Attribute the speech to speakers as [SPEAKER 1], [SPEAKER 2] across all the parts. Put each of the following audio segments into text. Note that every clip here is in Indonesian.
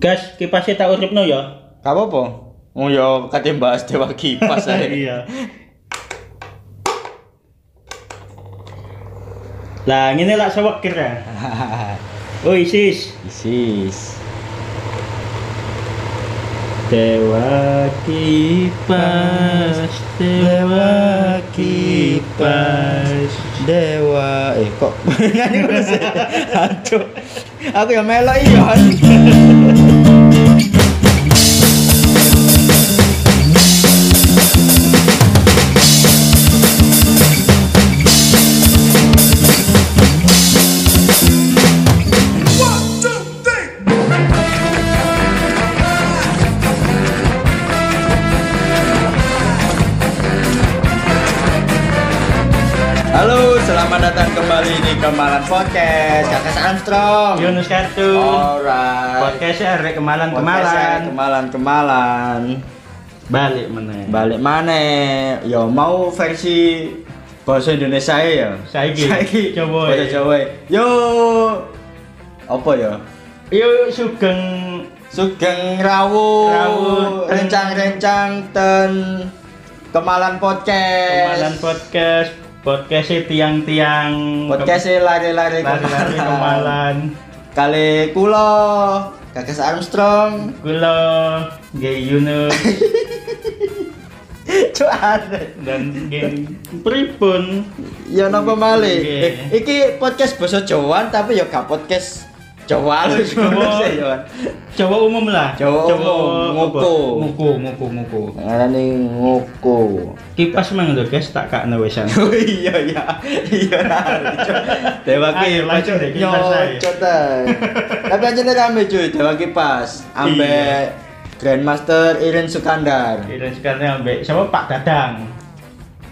[SPEAKER 1] Gas kipasnya tak uripno ya.
[SPEAKER 2] Gak apa-apa. Oh ya kate bahas dewa kipas ae.
[SPEAKER 1] iya. Lah ngene lak Oh, sewekir ya. Oi sis.
[SPEAKER 2] Isis.
[SPEAKER 1] Dewa kipas, dewa kipas.
[SPEAKER 2] Dewa eh kok nyanyi terus. ya? Aduh. Aku ya melok iya. aduh. Halo, selamat datang kembali di Kemalan Podcast. Kakak Armstrong.
[SPEAKER 1] Yunus kartu.
[SPEAKER 2] Alright.
[SPEAKER 1] Podcast arek kemalan
[SPEAKER 2] Podcast-nya
[SPEAKER 1] kemalan.
[SPEAKER 2] Kemalan Kemalan.
[SPEAKER 1] Balik meneh.
[SPEAKER 2] Balik mana? Ya mau versi bahasa Indonesia ya.
[SPEAKER 1] Saiki. Jawa.
[SPEAKER 2] Bahasa Jawa. Yo. Apa ya?
[SPEAKER 1] Yuk sugeng
[SPEAKER 2] Sugeng rawuh,
[SPEAKER 1] Rawuh, ten-
[SPEAKER 2] rencang-rencang ten Kemalan Podcast.
[SPEAKER 1] kemalan podcast, podcast tiang-tiang
[SPEAKER 2] Podcast e lari-lari
[SPEAKER 1] lari-lari kemalan.
[SPEAKER 2] Kali kulo Kakak Armstrong.
[SPEAKER 1] Kula nggih Yunus
[SPEAKER 2] Cuan.
[SPEAKER 1] dan nggih pripun?
[SPEAKER 2] Ya napa malih?
[SPEAKER 1] Nggih.
[SPEAKER 2] Eh, Iki podcast basa Jawaan tapi ya gak podcast Jawa lho
[SPEAKER 1] Jawa.
[SPEAKER 2] ngono sih, Yoan.
[SPEAKER 1] Jawa umum lah.
[SPEAKER 2] Jawa umum, ngoko.
[SPEAKER 1] apa? Ngoko, ngoko, ngoko.
[SPEAKER 2] Ngarani ngoko.
[SPEAKER 1] Kipas mang lho guys tak kakno wisan.
[SPEAKER 2] Oh iya iya. Iya ra. Dewa
[SPEAKER 1] Ayo, lanjut deh,
[SPEAKER 2] kipas. Yo
[SPEAKER 1] kipas aja.
[SPEAKER 2] cota. Tapi anjene rame cuy Dewa kipas ambek Grandmaster Irin Sukandar.
[SPEAKER 1] Dan sekarang ambek siapa Pak Dadang.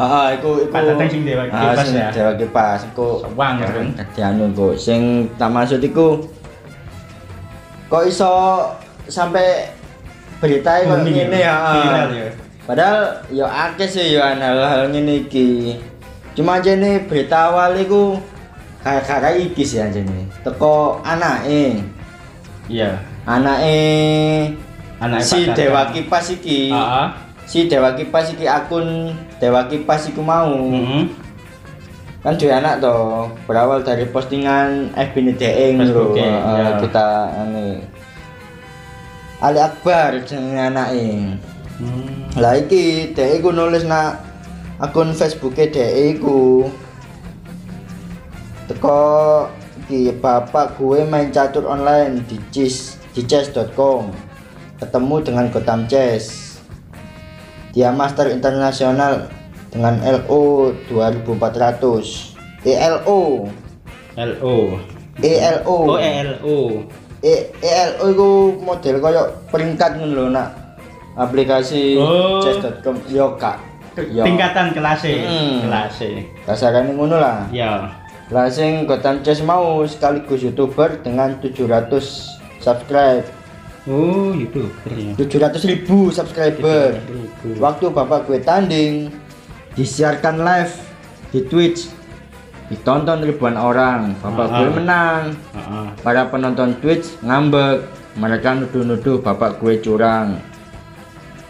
[SPEAKER 2] Heeh, iku iku.
[SPEAKER 1] Pak Tatang sing Dewa
[SPEAKER 2] Ah,
[SPEAKER 1] Kipas
[SPEAKER 2] sing
[SPEAKER 1] ya.
[SPEAKER 2] Dewa kipas iku
[SPEAKER 1] Sewang kan.
[SPEAKER 2] Dadi anu kok sing tak maksud iku kok iso sampai berita kok
[SPEAKER 1] Booming
[SPEAKER 2] ngene
[SPEAKER 1] ya,
[SPEAKER 2] ya.
[SPEAKER 1] viral ya.
[SPEAKER 2] Padahal ya akeh sih ya hal-hal ngene iki. Cuma jene berita awal iku kayak kayak iki sih anjene. Teko anake.
[SPEAKER 1] Iya.
[SPEAKER 2] Anake
[SPEAKER 1] Anake
[SPEAKER 2] si
[SPEAKER 1] Pak Dadang. Ah,
[SPEAKER 2] Dewa Kipas iki.
[SPEAKER 1] Heeh.
[SPEAKER 2] Si Dewa Kipas iki akun Dewa Kipas iku mau.
[SPEAKER 1] Heeh.
[SPEAKER 2] kan dua anak toh berawal dari postingan FB Deeng lho
[SPEAKER 1] Facebook-e,
[SPEAKER 2] eh,
[SPEAKER 1] ya.
[SPEAKER 2] kita ini Ali Akbar jenenge anake
[SPEAKER 1] Hmm.
[SPEAKER 2] lah iki dhek iku nulis nak akun Facebooke dhek iku teko iki bapak gue main catur online di chess di chess.com ketemu dengan Gotham Chess dia master internasional dengan LO 2400 ELO
[SPEAKER 1] LO.
[SPEAKER 2] ELO
[SPEAKER 1] Oh, ELO.
[SPEAKER 2] E- ELO itu model koyo peringkat ngono lho nak aplikasi
[SPEAKER 1] Oh.
[SPEAKER 2] chess.com yo kak
[SPEAKER 1] Ya.
[SPEAKER 2] yo
[SPEAKER 1] Tingkatan kelas E.
[SPEAKER 2] Hmm.
[SPEAKER 1] Kelas E.
[SPEAKER 2] kasarane ngono lah
[SPEAKER 1] Ya.
[SPEAKER 2] lah sing Gotham Chess mau sekaligus youtuber dengan 700 subscribe
[SPEAKER 1] Oh, YouTuber ya.
[SPEAKER 2] 700 ribu subscriber
[SPEAKER 1] 700.000.
[SPEAKER 2] waktu bapak gue tanding disiarkan live di Twitch ditonton ribuan orang bapak
[SPEAKER 1] Ah.
[SPEAKER 2] gue menang
[SPEAKER 1] Heeh.
[SPEAKER 2] Para penonton Twitch ngambek. Mereka nuduh-nuduh bapak gue curang.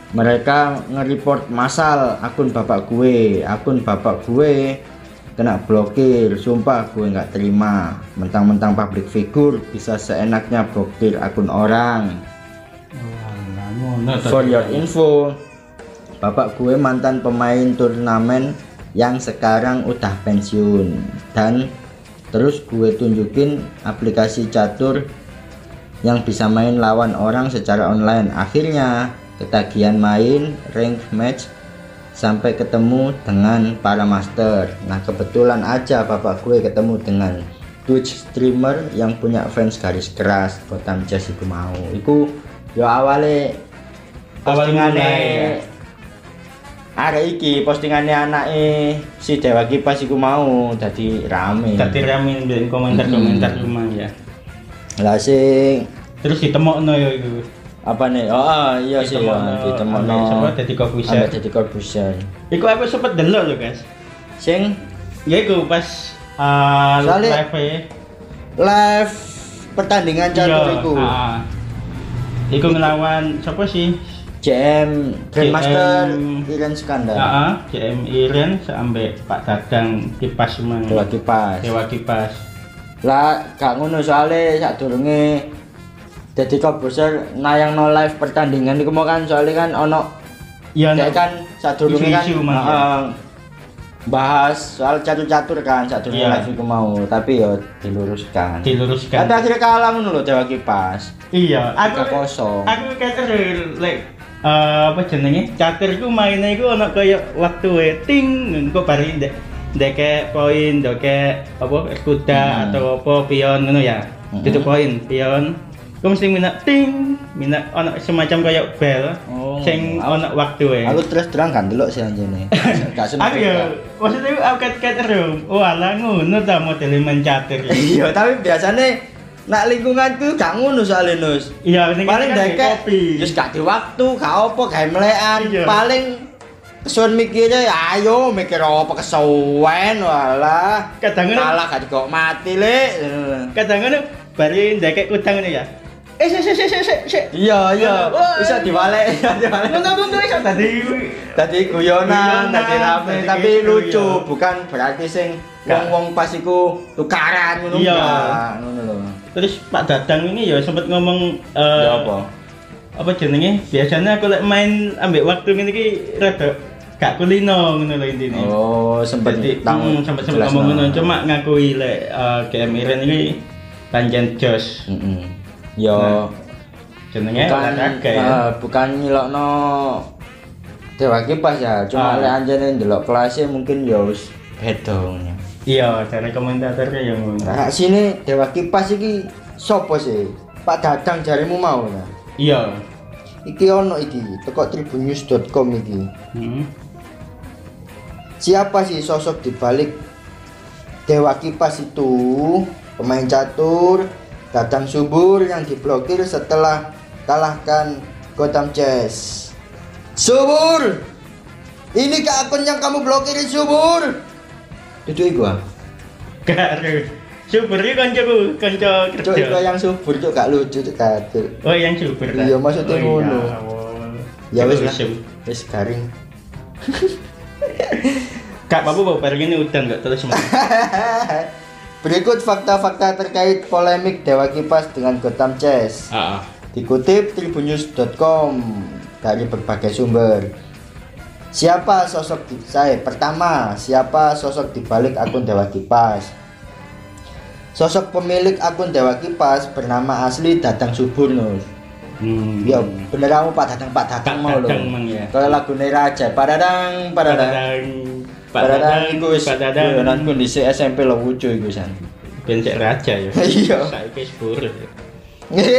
[SPEAKER 2] Mereka nge-report masal akun bapak gue. Akun bapak gue kena blokir. Sumpah gue nggak terima. Mentang-mentang public figure bisa seenaknya blokir akun orang.
[SPEAKER 1] Walah, ngono to.
[SPEAKER 2] For your info, bapak gue mantan pemain turnamen yang sekarang udah pensiun dan terus gue tunjukin aplikasi catur yang bisa main lawan orang secara online. Akhirnya ketagihan main rank match sampai ketemu dengan para master. Nah kebetulan aja bapak gue ketemu dengan Twitch streamer yang punya fans garis keras Gotham Chess itu mau. Iku yo awale
[SPEAKER 1] Awal
[SPEAKER 2] postingane
[SPEAKER 1] mulai, ya.
[SPEAKER 2] arek iki postingane anake si Dewa Kipas iku mau dadi rame.
[SPEAKER 1] Tadi ramin bikin komentar-komentar
[SPEAKER 2] Hmm.
[SPEAKER 1] cuma ya.
[SPEAKER 2] Lah sing
[SPEAKER 1] Terus ditemokno ya iku.
[SPEAKER 2] apa nih? Oh, ah, iya sih ya, ditemokno.
[SPEAKER 1] ambek Sapa dadi
[SPEAKER 2] Sampai
[SPEAKER 1] Corbusier.
[SPEAKER 2] jadi korbusan.
[SPEAKER 1] Iku aku sempet delok lho, guys.
[SPEAKER 2] Sing
[SPEAKER 1] Ya iku pas uh,
[SPEAKER 2] Soalnya-
[SPEAKER 1] live
[SPEAKER 2] live pertandingan catur iku.
[SPEAKER 1] heeh. Iya, ah, Iku ngelawan siapa sih?
[SPEAKER 2] CM Grandmaster
[SPEAKER 1] CM.
[SPEAKER 2] Iren Skandar
[SPEAKER 1] Heeh, CM ah, Iren sampe Pak Dadang kipas semang.
[SPEAKER 2] Dewa Kipas
[SPEAKER 1] Dewa kipas.
[SPEAKER 2] lah gak ngono soalnya saat durunge jadi komposer nayang no live pertandingan iku mau kan soalnya kan ono
[SPEAKER 1] Iya,
[SPEAKER 2] Dek
[SPEAKER 1] nak-
[SPEAKER 2] kan saat durunge kan
[SPEAKER 1] Isu-isu, Mas, ya.
[SPEAKER 2] heeh, bahas soal catur-catur kan saat durunge
[SPEAKER 1] Iya.
[SPEAKER 2] live iku mau tapi yo diluruskan
[SPEAKER 1] diluruskan.
[SPEAKER 2] tapi akhirnya kalah ngono lho Dewa Kipas
[SPEAKER 1] Iya, aku
[SPEAKER 2] 3-0.
[SPEAKER 1] Aku kater like eh, apa jenenge? Catur ku mainnya iku ono kaya waktu waiting engko bari ndek ndeke poin, ndeke apa kuda
[SPEAKER 2] Hmm.
[SPEAKER 1] atau apa pion ngono ya.
[SPEAKER 2] Hmm.
[SPEAKER 1] Itu poin, pion. Ku mesti minak ting, minak ono semacam kaya bel.
[SPEAKER 2] Oh.
[SPEAKER 1] Sing ono waktu e.
[SPEAKER 2] aku terus terang kan delok sih anjene
[SPEAKER 1] Aku
[SPEAKER 2] gak seneng
[SPEAKER 1] ya, maksudnya aku kater Oh ala ngono ta modele main catur.
[SPEAKER 2] iya tapi biasanya nak lingkungan tuh gak ngono soalnya nus
[SPEAKER 1] Iya, ini
[SPEAKER 2] paling
[SPEAKER 1] kan
[SPEAKER 2] deket
[SPEAKER 1] kopi.
[SPEAKER 2] terus gak di waktu gak apa gak melekan
[SPEAKER 1] Iya.
[SPEAKER 2] paling kesuwen mikirnya ya ayo mikir apa kesuwen walah
[SPEAKER 1] Kadang-kadang-
[SPEAKER 2] kalah gak kok mati le
[SPEAKER 1] kadang-kadang bari ndekek kudang ngene ya. Eh sik sik sik sik, sik sik.
[SPEAKER 2] iya iya
[SPEAKER 1] Wah.
[SPEAKER 2] bisa diwalek bisa diwalek
[SPEAKER 1] Nonton nonton iso dadi
[SPEAKER 2] tadi guyonan
[SPEAKER 1] Guyonan,
[SPEAKER 2] tadi rame
[SPEAKER 1] tadi
[SPEAKER 2] tapi
[SPEAKER 1] gitu,
[SPEAKER 2] lucu
[SPEAKER 1] iya.
[SPEAKER 2] bukan berarti sing
[SPEAKER 1] Gak.
[SPEAKER 2] wong-wong pas iku tukaran ngono
[SPEAKER 1] Iya.
[SPEAKER 2] gak, ngono lho
[SPEAKER 1] terus Pak Dadang ini ya sempat ngomong eh,
[SPEAKER 2] ya apa
[SPEAKER 1] apa jenenge? Biasanya aku lek main ambek waktu ngene iki rada gak kulino ngono lho intine.
[SPEAKER 2] oh sempet
[SPEAKER 1] Jadi
[SPEAKER 2] tahu
[SPEAKER 1] hmm, sempat sempat
[SPEAKER 2] jelas
[SPEAKER 1] ngomong
[SPEAKER 2] no.
[SPEAKER 1] ngono cuma ngakui lek eh, GM Iren ini pancen jos
[SPEAKER 2] Mm-mm. yo
[SPEAKER 1] Nah. jenenge
[SPEAKER 2] bukan
[SPEAKER 1] olahraga ya.
[SPEAKER 2] eh, bukan nyilokno dewa kipas ya
[SPEAKER 1] Ah.
[SPEAKER 2] cuma lek anjene ndelok kelasnya mungkin ya wis bedong
[SPEAKER 1] Iya, dari komentatornya yang ngono.
[SPEAKER 2] nah sini dewa kipas iki sopo sih Pak Dadang jarimu mau nah.
[SPEAKER 1] Iya.
[SPEAKER 2] iki ono iki teko tribunnews.com iki
[SPEAKER 1] Hmm.
[SPEAKER 2] siapa sih sosok dibalik Dewa Kipas itu pemain catur datang subur yang diblokir setelah kalahkan Gotham Chess subur ini ke akun yang kamu blokirin subur ah. itu gua
[SPEAKER 1] Garu. Super iki ya kancaku, kanca kerja.
[SPEAKER 2] cok itu ah, yang subur cok gak lucu cok katil
[SPEAKER 1] Oh yang Oh, super
[SPEAKER 2] Iya, maksudnya ngono. ya wes lah wes garing
[SPEAKER 1] Kak Babu bawa barang ini udan gak terus mas.
[SPEAKER 2] berikut fakta-fakta terkait polemik Dewa Kipas dengan Gotham Chess
[SPEAKER 1] Ah, ah.
[SPEAKER 2] Dikutip tribunnews.com dari berbagai sumber. Siapa sosok di- saya? Pertama, siapa sosok di balik akun Dewa Kipas? Sosok pemilik akun Dewa Kipas bernama asli Dadang Suburnus.
[SPEAKER 1] Hmm.
[SPEAKER 2] Ya, bener kamu Pak Dadang, Pak Dadang
[SPEAKER 1] Pak
[SPEAKER 2] mau lho.
[SPEAKER 1] Dadang, Mang, ya.
[SPEAKER 2] Kalau lagu Raja, Paradang,
[SPEAKER 1] Pak
[SPEAKER 2] Paradang.
[SPEAKER 1] Dadang. Pak Dadang.
[SPEAKER 2] Paradang iku wis
[SPEAKER 1] Pak Dadang.
[SPEAKER 2] guyonan kondisi SMP lo wucu iku san.
[SPEAKER 1] Bencek raja ya.
[SPEAKER 2] Iya.
[SPEAKER 1] Saiki sepuluh.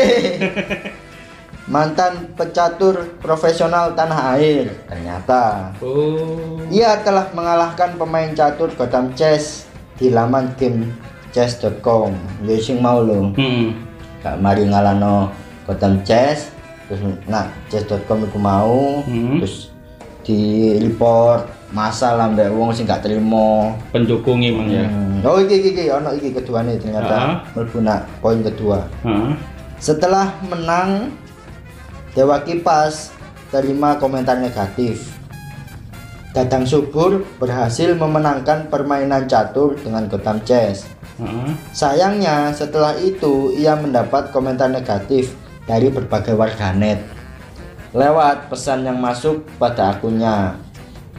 [SPEAKER 2] Mantan pecatur profesional tanah air. Ternyata
[SPEAKER 1] Oh.
[SPEAKER 2] Ia telah mengalahkan pemain catur Gotham Chess di laman game chess.com. Ya sing mau lho.
[SPEAKER 1] Hmm.
[SPEAKER 2] Kak mari ngalano Gotham Chess terus nah chess.com iku mau
[SPEAKER 1] Hmm.
[SPEAKER 2] terus di report masalah mbak wong sing gak terima.
[SPEAKER 1] Pendukungnya mang ya.
[SPEAKER 2] Hmm. Oh iki iki iki ono iki keduane ternyata mlebu nak poin kedua.
[SPEAKER 1] Heeh.
[SPEAKER 2] Setelah menang, Dewa Kipas terima komentar negatif. Dadang Subur berhasil memenangkan permainan catur dengan Gotham Chess.
[SPEAKER 1] Heeh.
[SPEAKER 2] Sayangnya, setelah itu ia mendapat komentar negatif dari berbagai warganet lewat pesan yang masuk pada akunnya.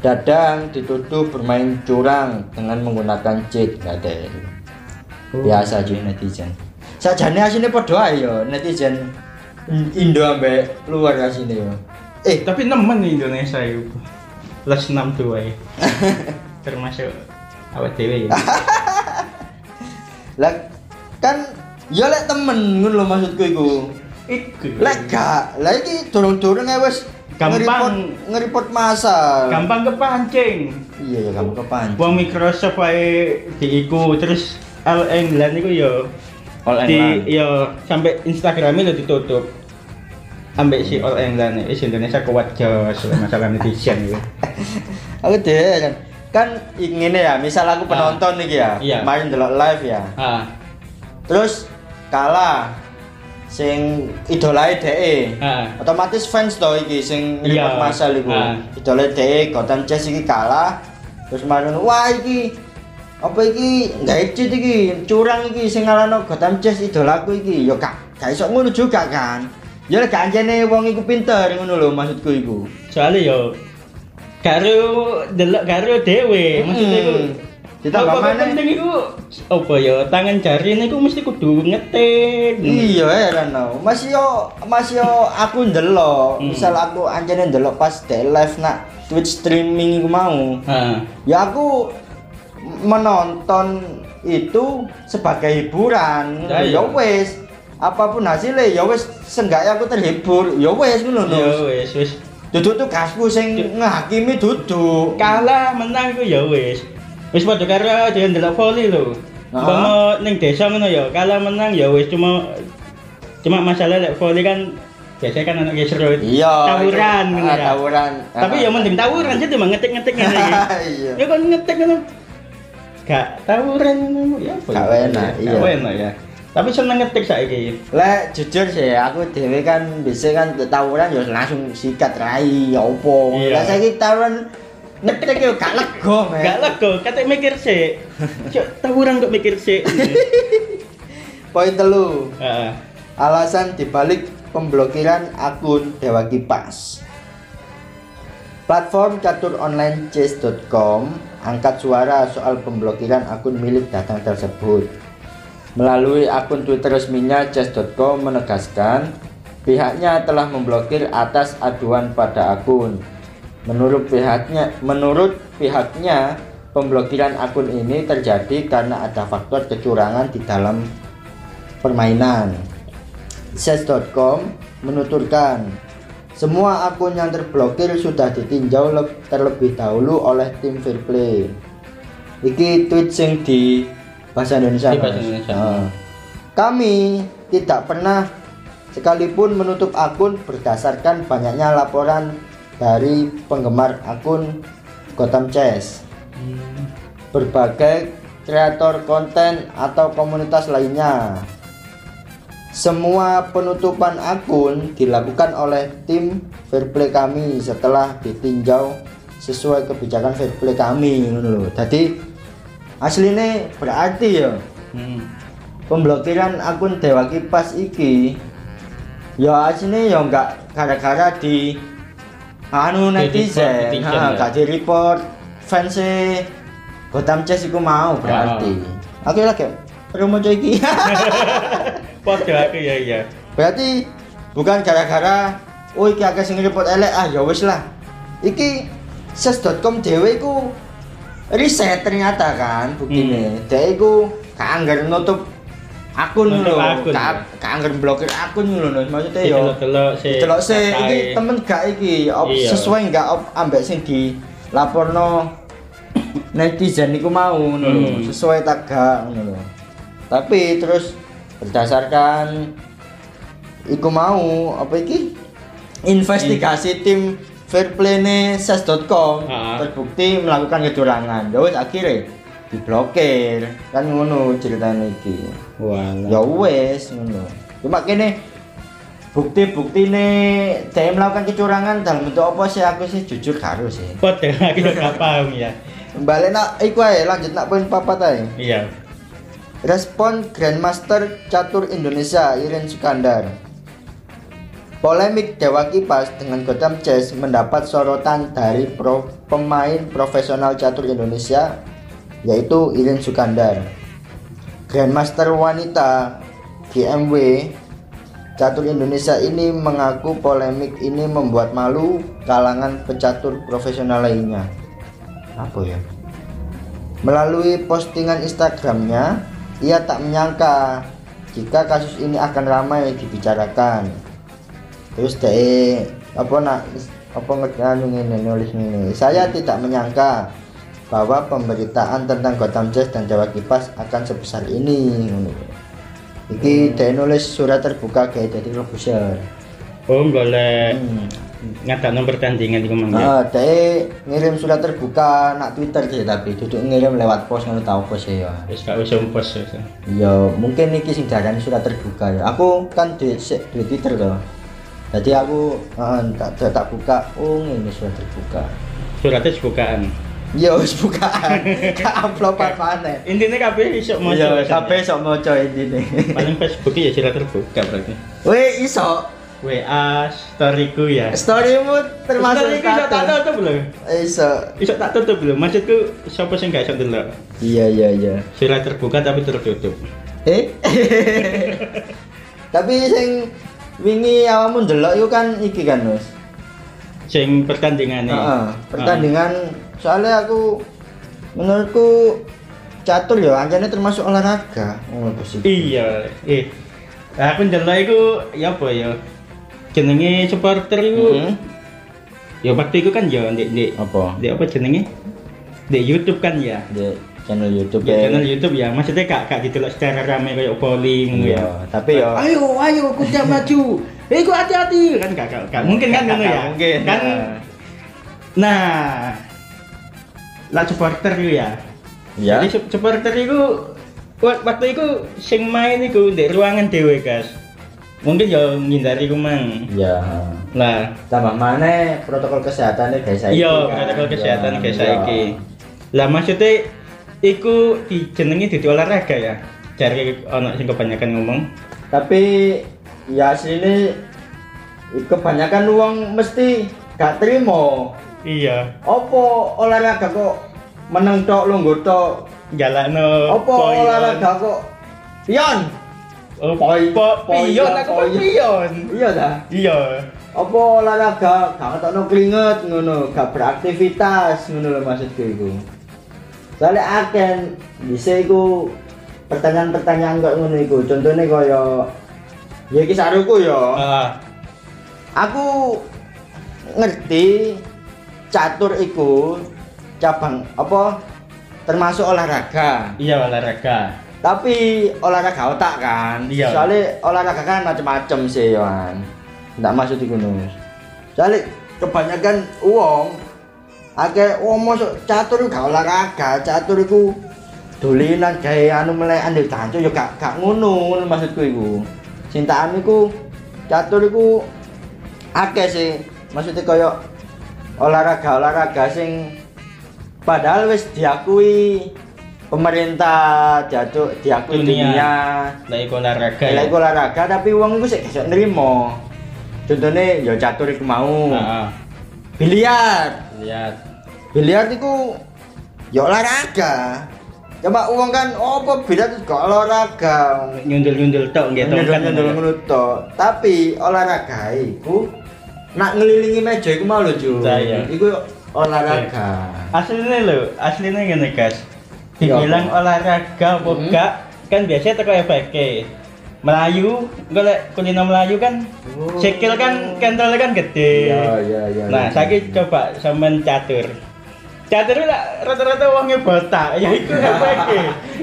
[SPEAKER 2] Dadang dituduh bermain curang dengan menggunakan cheat, katanya biasa aja netizen sajane asine podo ae yo netizen In- Indo ambek luar asine yo eh
[SPEAKER 1] Tapi nemen nih Indonesia itu. Plus enam dua ya. Termasuk awet dewe ya.
[SPEAKER 2] lah kan yo lek temen ngono lho maksudku iku
[SPEAKER 1] Iku.
[SPEAKER 2] lek gak lah iki durung-durung ae wis
[SPEAKER 1] Gampang.
[SPEAKER 2] ngeripot ngeripot masal
[SPEAKER 1] Gampang kepancing.
[SPEAKER 2] iya ya kamu kepancing
[SPEAKER 1] Wong Microsoft wae diiku terus All England iku ya
[SPEAKER 2] All England.
[SPEAKER 1] di ya sampai Instagramnya udah ditutup. Ambek si All England is Indonesia kuat jos masalah netizen gitu.
[SPEAKER 2] aku deh kan ingin ya misal aku
[SPEAKER 1] Ah.
[SPEAKER 2] penonton iki ya
[SPEAKER 1] Iya.
[SPEAKER 2] main delok live ya
[SPEAKER 1] Ah,
[SPEAKER 2] terus kalah sing idolae dhek
[SPEAKER 1] Heeh.
[SPEAKER 2] otomatis fans to iki sing
[SPEAKER 1] Iya.
[SPEAKER 2] report masal iku
[SPEAKER 1] Ah.
[SPEAKER 2] idolae dhek Gotham Chess iki kalah terus marun wah iki apa iki gawe cheat iki curang iki sing ngalahno Gotham Chess idolaku iki ya gak gak iso ngono juga kan ya lek gak anjene wong iku pinter ngono lho maksudku iku
[SPEAKER 1] soalnya yo karo delok karo dhewe maksudnya iku
[SPEAKER 2] Mm. Ditambah
[SPEAKER 1] apa
[SPEAKER 2] maneh-
[SPEAKER 1] penting iku apa ya tangan jari niku mesti kudu ngetik
[SPEAKER 2] Iya heran no. Mas yo mas yo aku ndelok,
[SPEAKER 1] Hmm.
[SPEAKER 2] misal aku anjene ndelok pas de live nak Twitch streaming iku mau.
[SPEAKER 1] Heeh.
[SPEAKER 2] Ya aku menonton itu sebagai hiburan.
[SPEAKER 1] Ya, iya.
[SPEAKER 2] Ya wis, apapun hasilnya ya wis seenggaknya aku terhibur. Ya wis ngono lho.
[SPEAKER 1] yo wis wis
[SPEAKER 2] Duduk tuh kasku sing ngehakimi duduk.
[SPEAKER 1] kalah menang iku ya wis wis padha karo dhewe ndelok voli lho
[SPEAKER 2] Nah.
[SPEAKER 1] Umpama ning desa ngono ya kalah menang ya wis cuma cuma masalah lek voli kan biasanya kan anak gesrut
[SPEAKER 2] Iya.
[SPEAKER 1] tawuran
[SPEAKER 2] itu.
[SPEAKER 1] ngono
[SPEAKER 2] Ah,
[SPEAKER 1] ya.
[SPEAKER 2] Tawuran.
[SPEAKER 1] tapi
[SPEAKER 2] Ah.
[SPEAKER 1] ya mending tawuran jadi mah ngetik-ngetik ngene iki
[SPEAKER 2] Iya.
[SPEAKER 1] Ya kan ngetek kan. Gak tawuran ya apa?
[SPEAKER 2] Gak
[SPEAKER 1] ya?
[SPEAKER 2] enak, iya.
[SPEAKER 1] Gak enak ya. Tapi seneng ngetik saiki.
[SPEAKER 2] Lek jujur sih aku dhewe kan bisa kan tawuran ya langsung sikat rai ya opo.
[SPEAKER 1] Iya.
[SPEAKER 2] Lah saiki tawuran ngetek yo gak lega men.
[SPEAKER 1] Gak lego, kate mikir sik. Cuk, tawuran kok mikir sik.
[SPEAKER 2] Poin telu.
[SPEAKER 1] Heeh.
[SPEAKER 2] Alasan dibalik pemblokiran akun Dewa Kipas. Platform catur online chess.com angkat suara soal pemblokiran akun milik Dadang tersebut. Melalui akun Twitter resminya chess.com menegaskan pihaknya telah memblokir atas aduan pada akun. Menurut pihaknya, menurut pihaknya pemblokiran akun ini terjadi karena ada faktor kecurangan di dalam permainan. Chess.com menuturkan semua akun yang terblokir sudah ditinjau le- terlebih dahulu oleh tim Fair Play. Iki tweet sing di bahasa Indonesia.
[SPEAKER 1] Di bahasa
[SPEAKER 2] Mas.
[SPEAKER 1] Indonesia.
[SPEAKER 2] Nah. Kami tidak pernah sekalipun menutup akun berdasarkan banyaknya laporan dari penggemar akun Gotham Chess
[SPEAKER 1] Hmm,
[SPEAKER 2] berbagai kreator konten atau komunitas lainnya. Semua penutupan akun dilakukan oleh tim Fairplay kami setelah ditinjau sesuai kebijakan Fairplay kami ngono lho. Dadi asline berarti ya
[SPEAKER 1] Hmm.
[SPEAKER 2] pemblokiran akun Dewa Kipas iki ya asline ya nggak gara-gara di anu
[SPEAKER 1] Di report
[SPEAKER 2] netizen,
[SPEAKER 1] netizen,
[SPEAKER 2] ha
[SPEAKER 1] ya.
[SPEAKER 2] gak di report fans Gotham Chess iku mau berarti. Aku lagi perlu maca iki.
[SPEAKER 1] Padha aku ya iya.
[SPEAKER 2] berarti bukan gara-gara oh iki akeh sing report elek ah ya wis lah. Iki ses.com dhewe iku riset ternyata kan buktine. Hmm. Dhewe iku gak anggar nutup akun
[SPEAKER 1] Nutup
[SPEAKER 2] lho,
[SPEAKER 1] akun.
[SPEAKER 2] gak gak anggar blokir akun lho Nus. maksudnya yo.
[SPEAKER 1] Delok-delok sik.
[SPEAKER 2] Delok Iya. sih, iki
[SPEAKER 1] Kae.
[SPEAKER 2] temen gak iki op,
[SPEAKER 1] Iya.
[SPEAKER 2] sesuai gak op, ambek sing di laporno netizen iku mau ngono lho,
[SPEAKER 1] Hmm.
[SPEAKER 2] sesuai tak gak ngono lho. Tapi terus berdasarkan iku mau apa iki
[SPEAKER 1] Hmm.
[SPEAKER 2] investigasi tim fairplayneses.com
[SPEAKER 1] Ah.
[SPEAKER 2] terbukti melakukan kecurangan. Ya wis akhire diblokir. Kan ngono ceritane iki
[SPEAKER 1] Walah.
[SPEAKER 2] ya wes ngono cuma kene bukti-bukti nih saya melakukan kecurangan dalam bentuk apa sih aku sih jujur karo sih
[SPEAKER 1] Padha aku ya gak paham ya.
[SPEAKER 2] balik nak iku ae lanjut nak poin papat ae
[SPEAKER 1] Iya.
[SPEAKER 2] respon Grandmaster catur Indonesia Irin Sukandar Polemik Dewa Kipas dengan Gotham Chess mendapat sorotan dari pro- pemain profesional catur Indonesia yaitu Irin Sukandar. Grandmaster wanita GMW catur Indonesia ini mengaku polemik ini membuat malu kalangan pecatur profesional lainnya. Apa ya? Melalui postingan Instagramnya, ia tak menyangka jika kasus ini akan ramai dibicarakan. Terus de apa nak apa ngerti ini nulis ini. Saya tidak menyangka bahwa pemberitaan tentang Gotham Chess dan Jawa Kipas akan sebesar ini. Ngono. Iki de nulis surat terbuka kayak jadi Corbusier.
[SPEAKER 1] Oh golek
[SPEAKER 2] Hmm.
[SPEAKER 1] ngadakno pertandingan iku mang. ya.
[SPEAKER 2] Heeh, dhek ngirim surat terbuka nak Twitter sih tapi duduk ngirim lewat pos ngono tau pos ya.
[SPEAKER 1] Wis gak usah umpes. wis.
[SPEAKER 2] Ya mungkin iki sing diarani surat terbuka ya. Aku kan duwe sik duwe Twitter to. Jadi aku eh, tak tak, tak buka, oh ini surat terbuka.
[SPEAKER 1] Suratnya bukaan.
[SPEAKER 2] Ya wis bukaan. tak uploadan maneh.
[SPEAKER 1] Intinya kabeh iso maca.
[SPEAKER 2] Iya, sampai sok moco intine.
[SPEAKER 1] ya. paling Facebook ya surat terbuka berarti.
[SPEAKER 2] Weh iso
[SPEAKER 1] WA storyku ya.
[SPEAKER 2] storymu termasuk
[SPEAKER 1] Storyku iso tak
[SPEAKER 2] status.
[SPEAKER 1] tutup belum?
[SPEAKER 2] Iso.
[SPEAKER 1] Iso tak tutup belum? Maksudku siapa sih nggak iso delok?
[SPEAKER 2] Iya iya iya.
[SPEAKER 1] Surat terbuka tapi tertutup.
[SPEAKER 2] Eh. Tapi sing wingi awakmu ndelok iku kan iki kan, Mas.
[SPEAKER 1] Sing pertandingan
[SPEAKER 2] Heeh. Pertandingan soalnya aku menurutku catur ya anjane termasuk olahraga. Oh, bos iki.
[SPEAKER 1] Iya, eh. Aku ndelok iku ya apa ya? Jenenge supporter iku.
[SPEAKER 2] Hmm.
[SPEAKER 1] Ya waktu itu kan ya ndek ndek
[SPEAKER 2] Apa?
[SPEAKER 1] ndek apa jenenge? Ndek YouTube kan ya.
[SPEAKER 2] Di channel YouTube
[SPEAKER 1] Ya channel YouTube ya. Maksudnya kak kak didelok secara rame kayak bowling ngono
[SPEAKER 2] Iya,
[SPEAKER 1] ya.
[SPEAKER 2] tapi ya
[SPEAKER 1] Ayo, ayo, kuda maju. Eh, kok hati-hati kan gak, gak, gak mungkin kan
[SPEAKER 2] Gak-
[SPEAKER 1] ngono
[SPEAKER 2] gak
[SPEAKER 1] ya.
[SPEAKER 2] Mungkin. Iya.
[SPEAKER 1] Kan nah. Lah supporter itu ya.
[SPEAKER 2] Ya.
[SPEAKER 1] Jadi sup- supporter itu wak- waktu itu sing main itu di ruangan dewe guys. Mungkin ya ngindari ku mang.
[SPEAKER 2] Ya.
[SPEAKER 1] Lah,
[SPEAKER 2] Tambah mana protokol kesehatannya guys saiki.
[SPEAKER 1] iya
[SPEAKER 2] kan?
[SPEAKER 1] protokol
[SPEAKER 2] Ya,
[SPEAKER 1] kesehatan kayak
[SPEAKER 2] iya.
[SPEAKER 1] saiki. Lah maksudnya iku dijenengi di olahraga ya. Dari anak sing kebanyakan ngomong.
[SPEAKER 2] Tapi ya sini kebanyakan uang mesti gak terima.
[SPEAKER 1] Iya.
[SPEAKER 2] Opo olahraga kok meneng tok lungguh tok.
[SPEAKER 1] Jalakno
[SPEAKER 2] Opo
[SPEAKER 1] poin.
[SPEAKER 2] olahraga kok pion.
[SPEAKER 1] Oh,
[SPEAKER 2] Poi-
[SPEAKER 1] po-
[SPEAKER 2] poi-
[SPEAKER 1] pion aku po-
[SPEAKER 2] poi.
[SPEAKER 1] pion.
[SPEAKER 2] Iya dah.
[SPEAKER 1] Iya.
[SPEAKER 2] Opo olahraga gak ketokno klinget ngono, gak beraktivitas ngono lho maksudku iku. Soale akan bisa iku pertanyaan-pertanyaan kok ngono iku. Contone kaya ya iki saruku ya.
[SPEAKER 1] Ah,
[SPEAKER 2] aku ngerti catur iku cabang apa termasuk olahraga
[SPEAKER 1] iya olahraga.
[SPEAKER 2] tapi olahraga otak kan
[SPEAKER 1] Iya.
[SPEAKER 2] soalnya olahraga kan macem-macem sih Yohan ndak maksud iku nus soalnya kebanyakan uang akeh wong masuk catur iku gak olahraga catur iku dolinan gawe anu melek andel tancu ya gak gak ngono ngono maksudku iku cintaan iku catur iku akeh sih maksudnya koyo olahraga olahraga sing padahal wis diakui pemerintah diadu, diakui
[SPEAKER 1] Dunia.
[SPEAKER 2] dunia,
[SPEAKER 1] Lah iku olahraga.
[SPEAKER 2] dunia.
[SPEAKER 1] ya?
[SPEAKER 2] iku olahraga tapi wong iku sik iso nrimo contohnya ya catur iku mau
[SPEAKER 1] Ah, ah.
[SPEAKER 2] biliar
[SPEAKER 1] lihat.
[SPEAKER 2] biliar iku ya olahraga coba uang kan opo biliar itu gak olahraga
[SPEAKER 1] Nyundul-nyundul tok nggih tok.
[SPEAKER 2] nyendol nyendol ngono tok. tapi olahraga iku nak ngelilingi meja iku mau lho Ju
[SPEAKER 1] Nah, iya.
[SPEAKER 2] iku olahraga
[SPEAKER 1] Asline lho, asline ngene, guys.
[SPEAKER 2] Iya,
[SPEAKER 1] Dibilang olahraga apa
[SPEAKER 2] Mhm.
[SPEAKER 1] enggak, kan biasanya teko FK. Melayu, golek kulino Melayu kan
[SPEAKER 2] Oh.
[SPEAKER 1] sikil kan kentalnya kan gede.
[SPEAKER 2] Iya, iya, iya.
[SPEAKER 1] Nah,
[SPEAKER 2] iya.
[SPEAKER 1] saya coba sampean catur. Catur itu lah rata-rata uangnya botak, ya itu FK.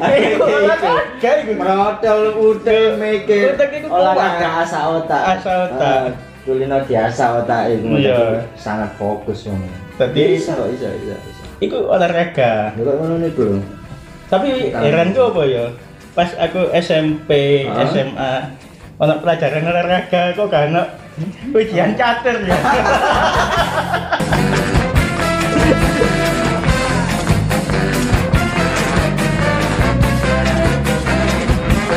[SPEAKER 1] Ya itu olahraga itu.
[SPEAKER 2] merotol utek mikir
[SPEAKER 1] Utek itu kuat.
[SPEAKER 2] olahraga asa otak.
[SPEAKER 1] Asa otak.
[SPEAKER 2] Eh, Kulino diasa otak iku.
[SPEAKER 1] Iya.
[SPEAKER 2] Sangat fokus ngono.
[SPEAKER 1] Tadi-
[SPEAKER 2] iso iso iso. iso.
[SPEAKER 1] Itu olahraga.
[SPEAKER 2] Lho, kok ngono niku lho.
[SPEAKER 1] Tapi
[SPEAKER 2] Bukan.
[SPEAKER 1] heran tuh apa ya? Pas aku SMP,
[SPEAKER 2] Hah?
[SPEAKER 1] SMA, ono pelajaran olahraga kok gak ono ujian catur ya.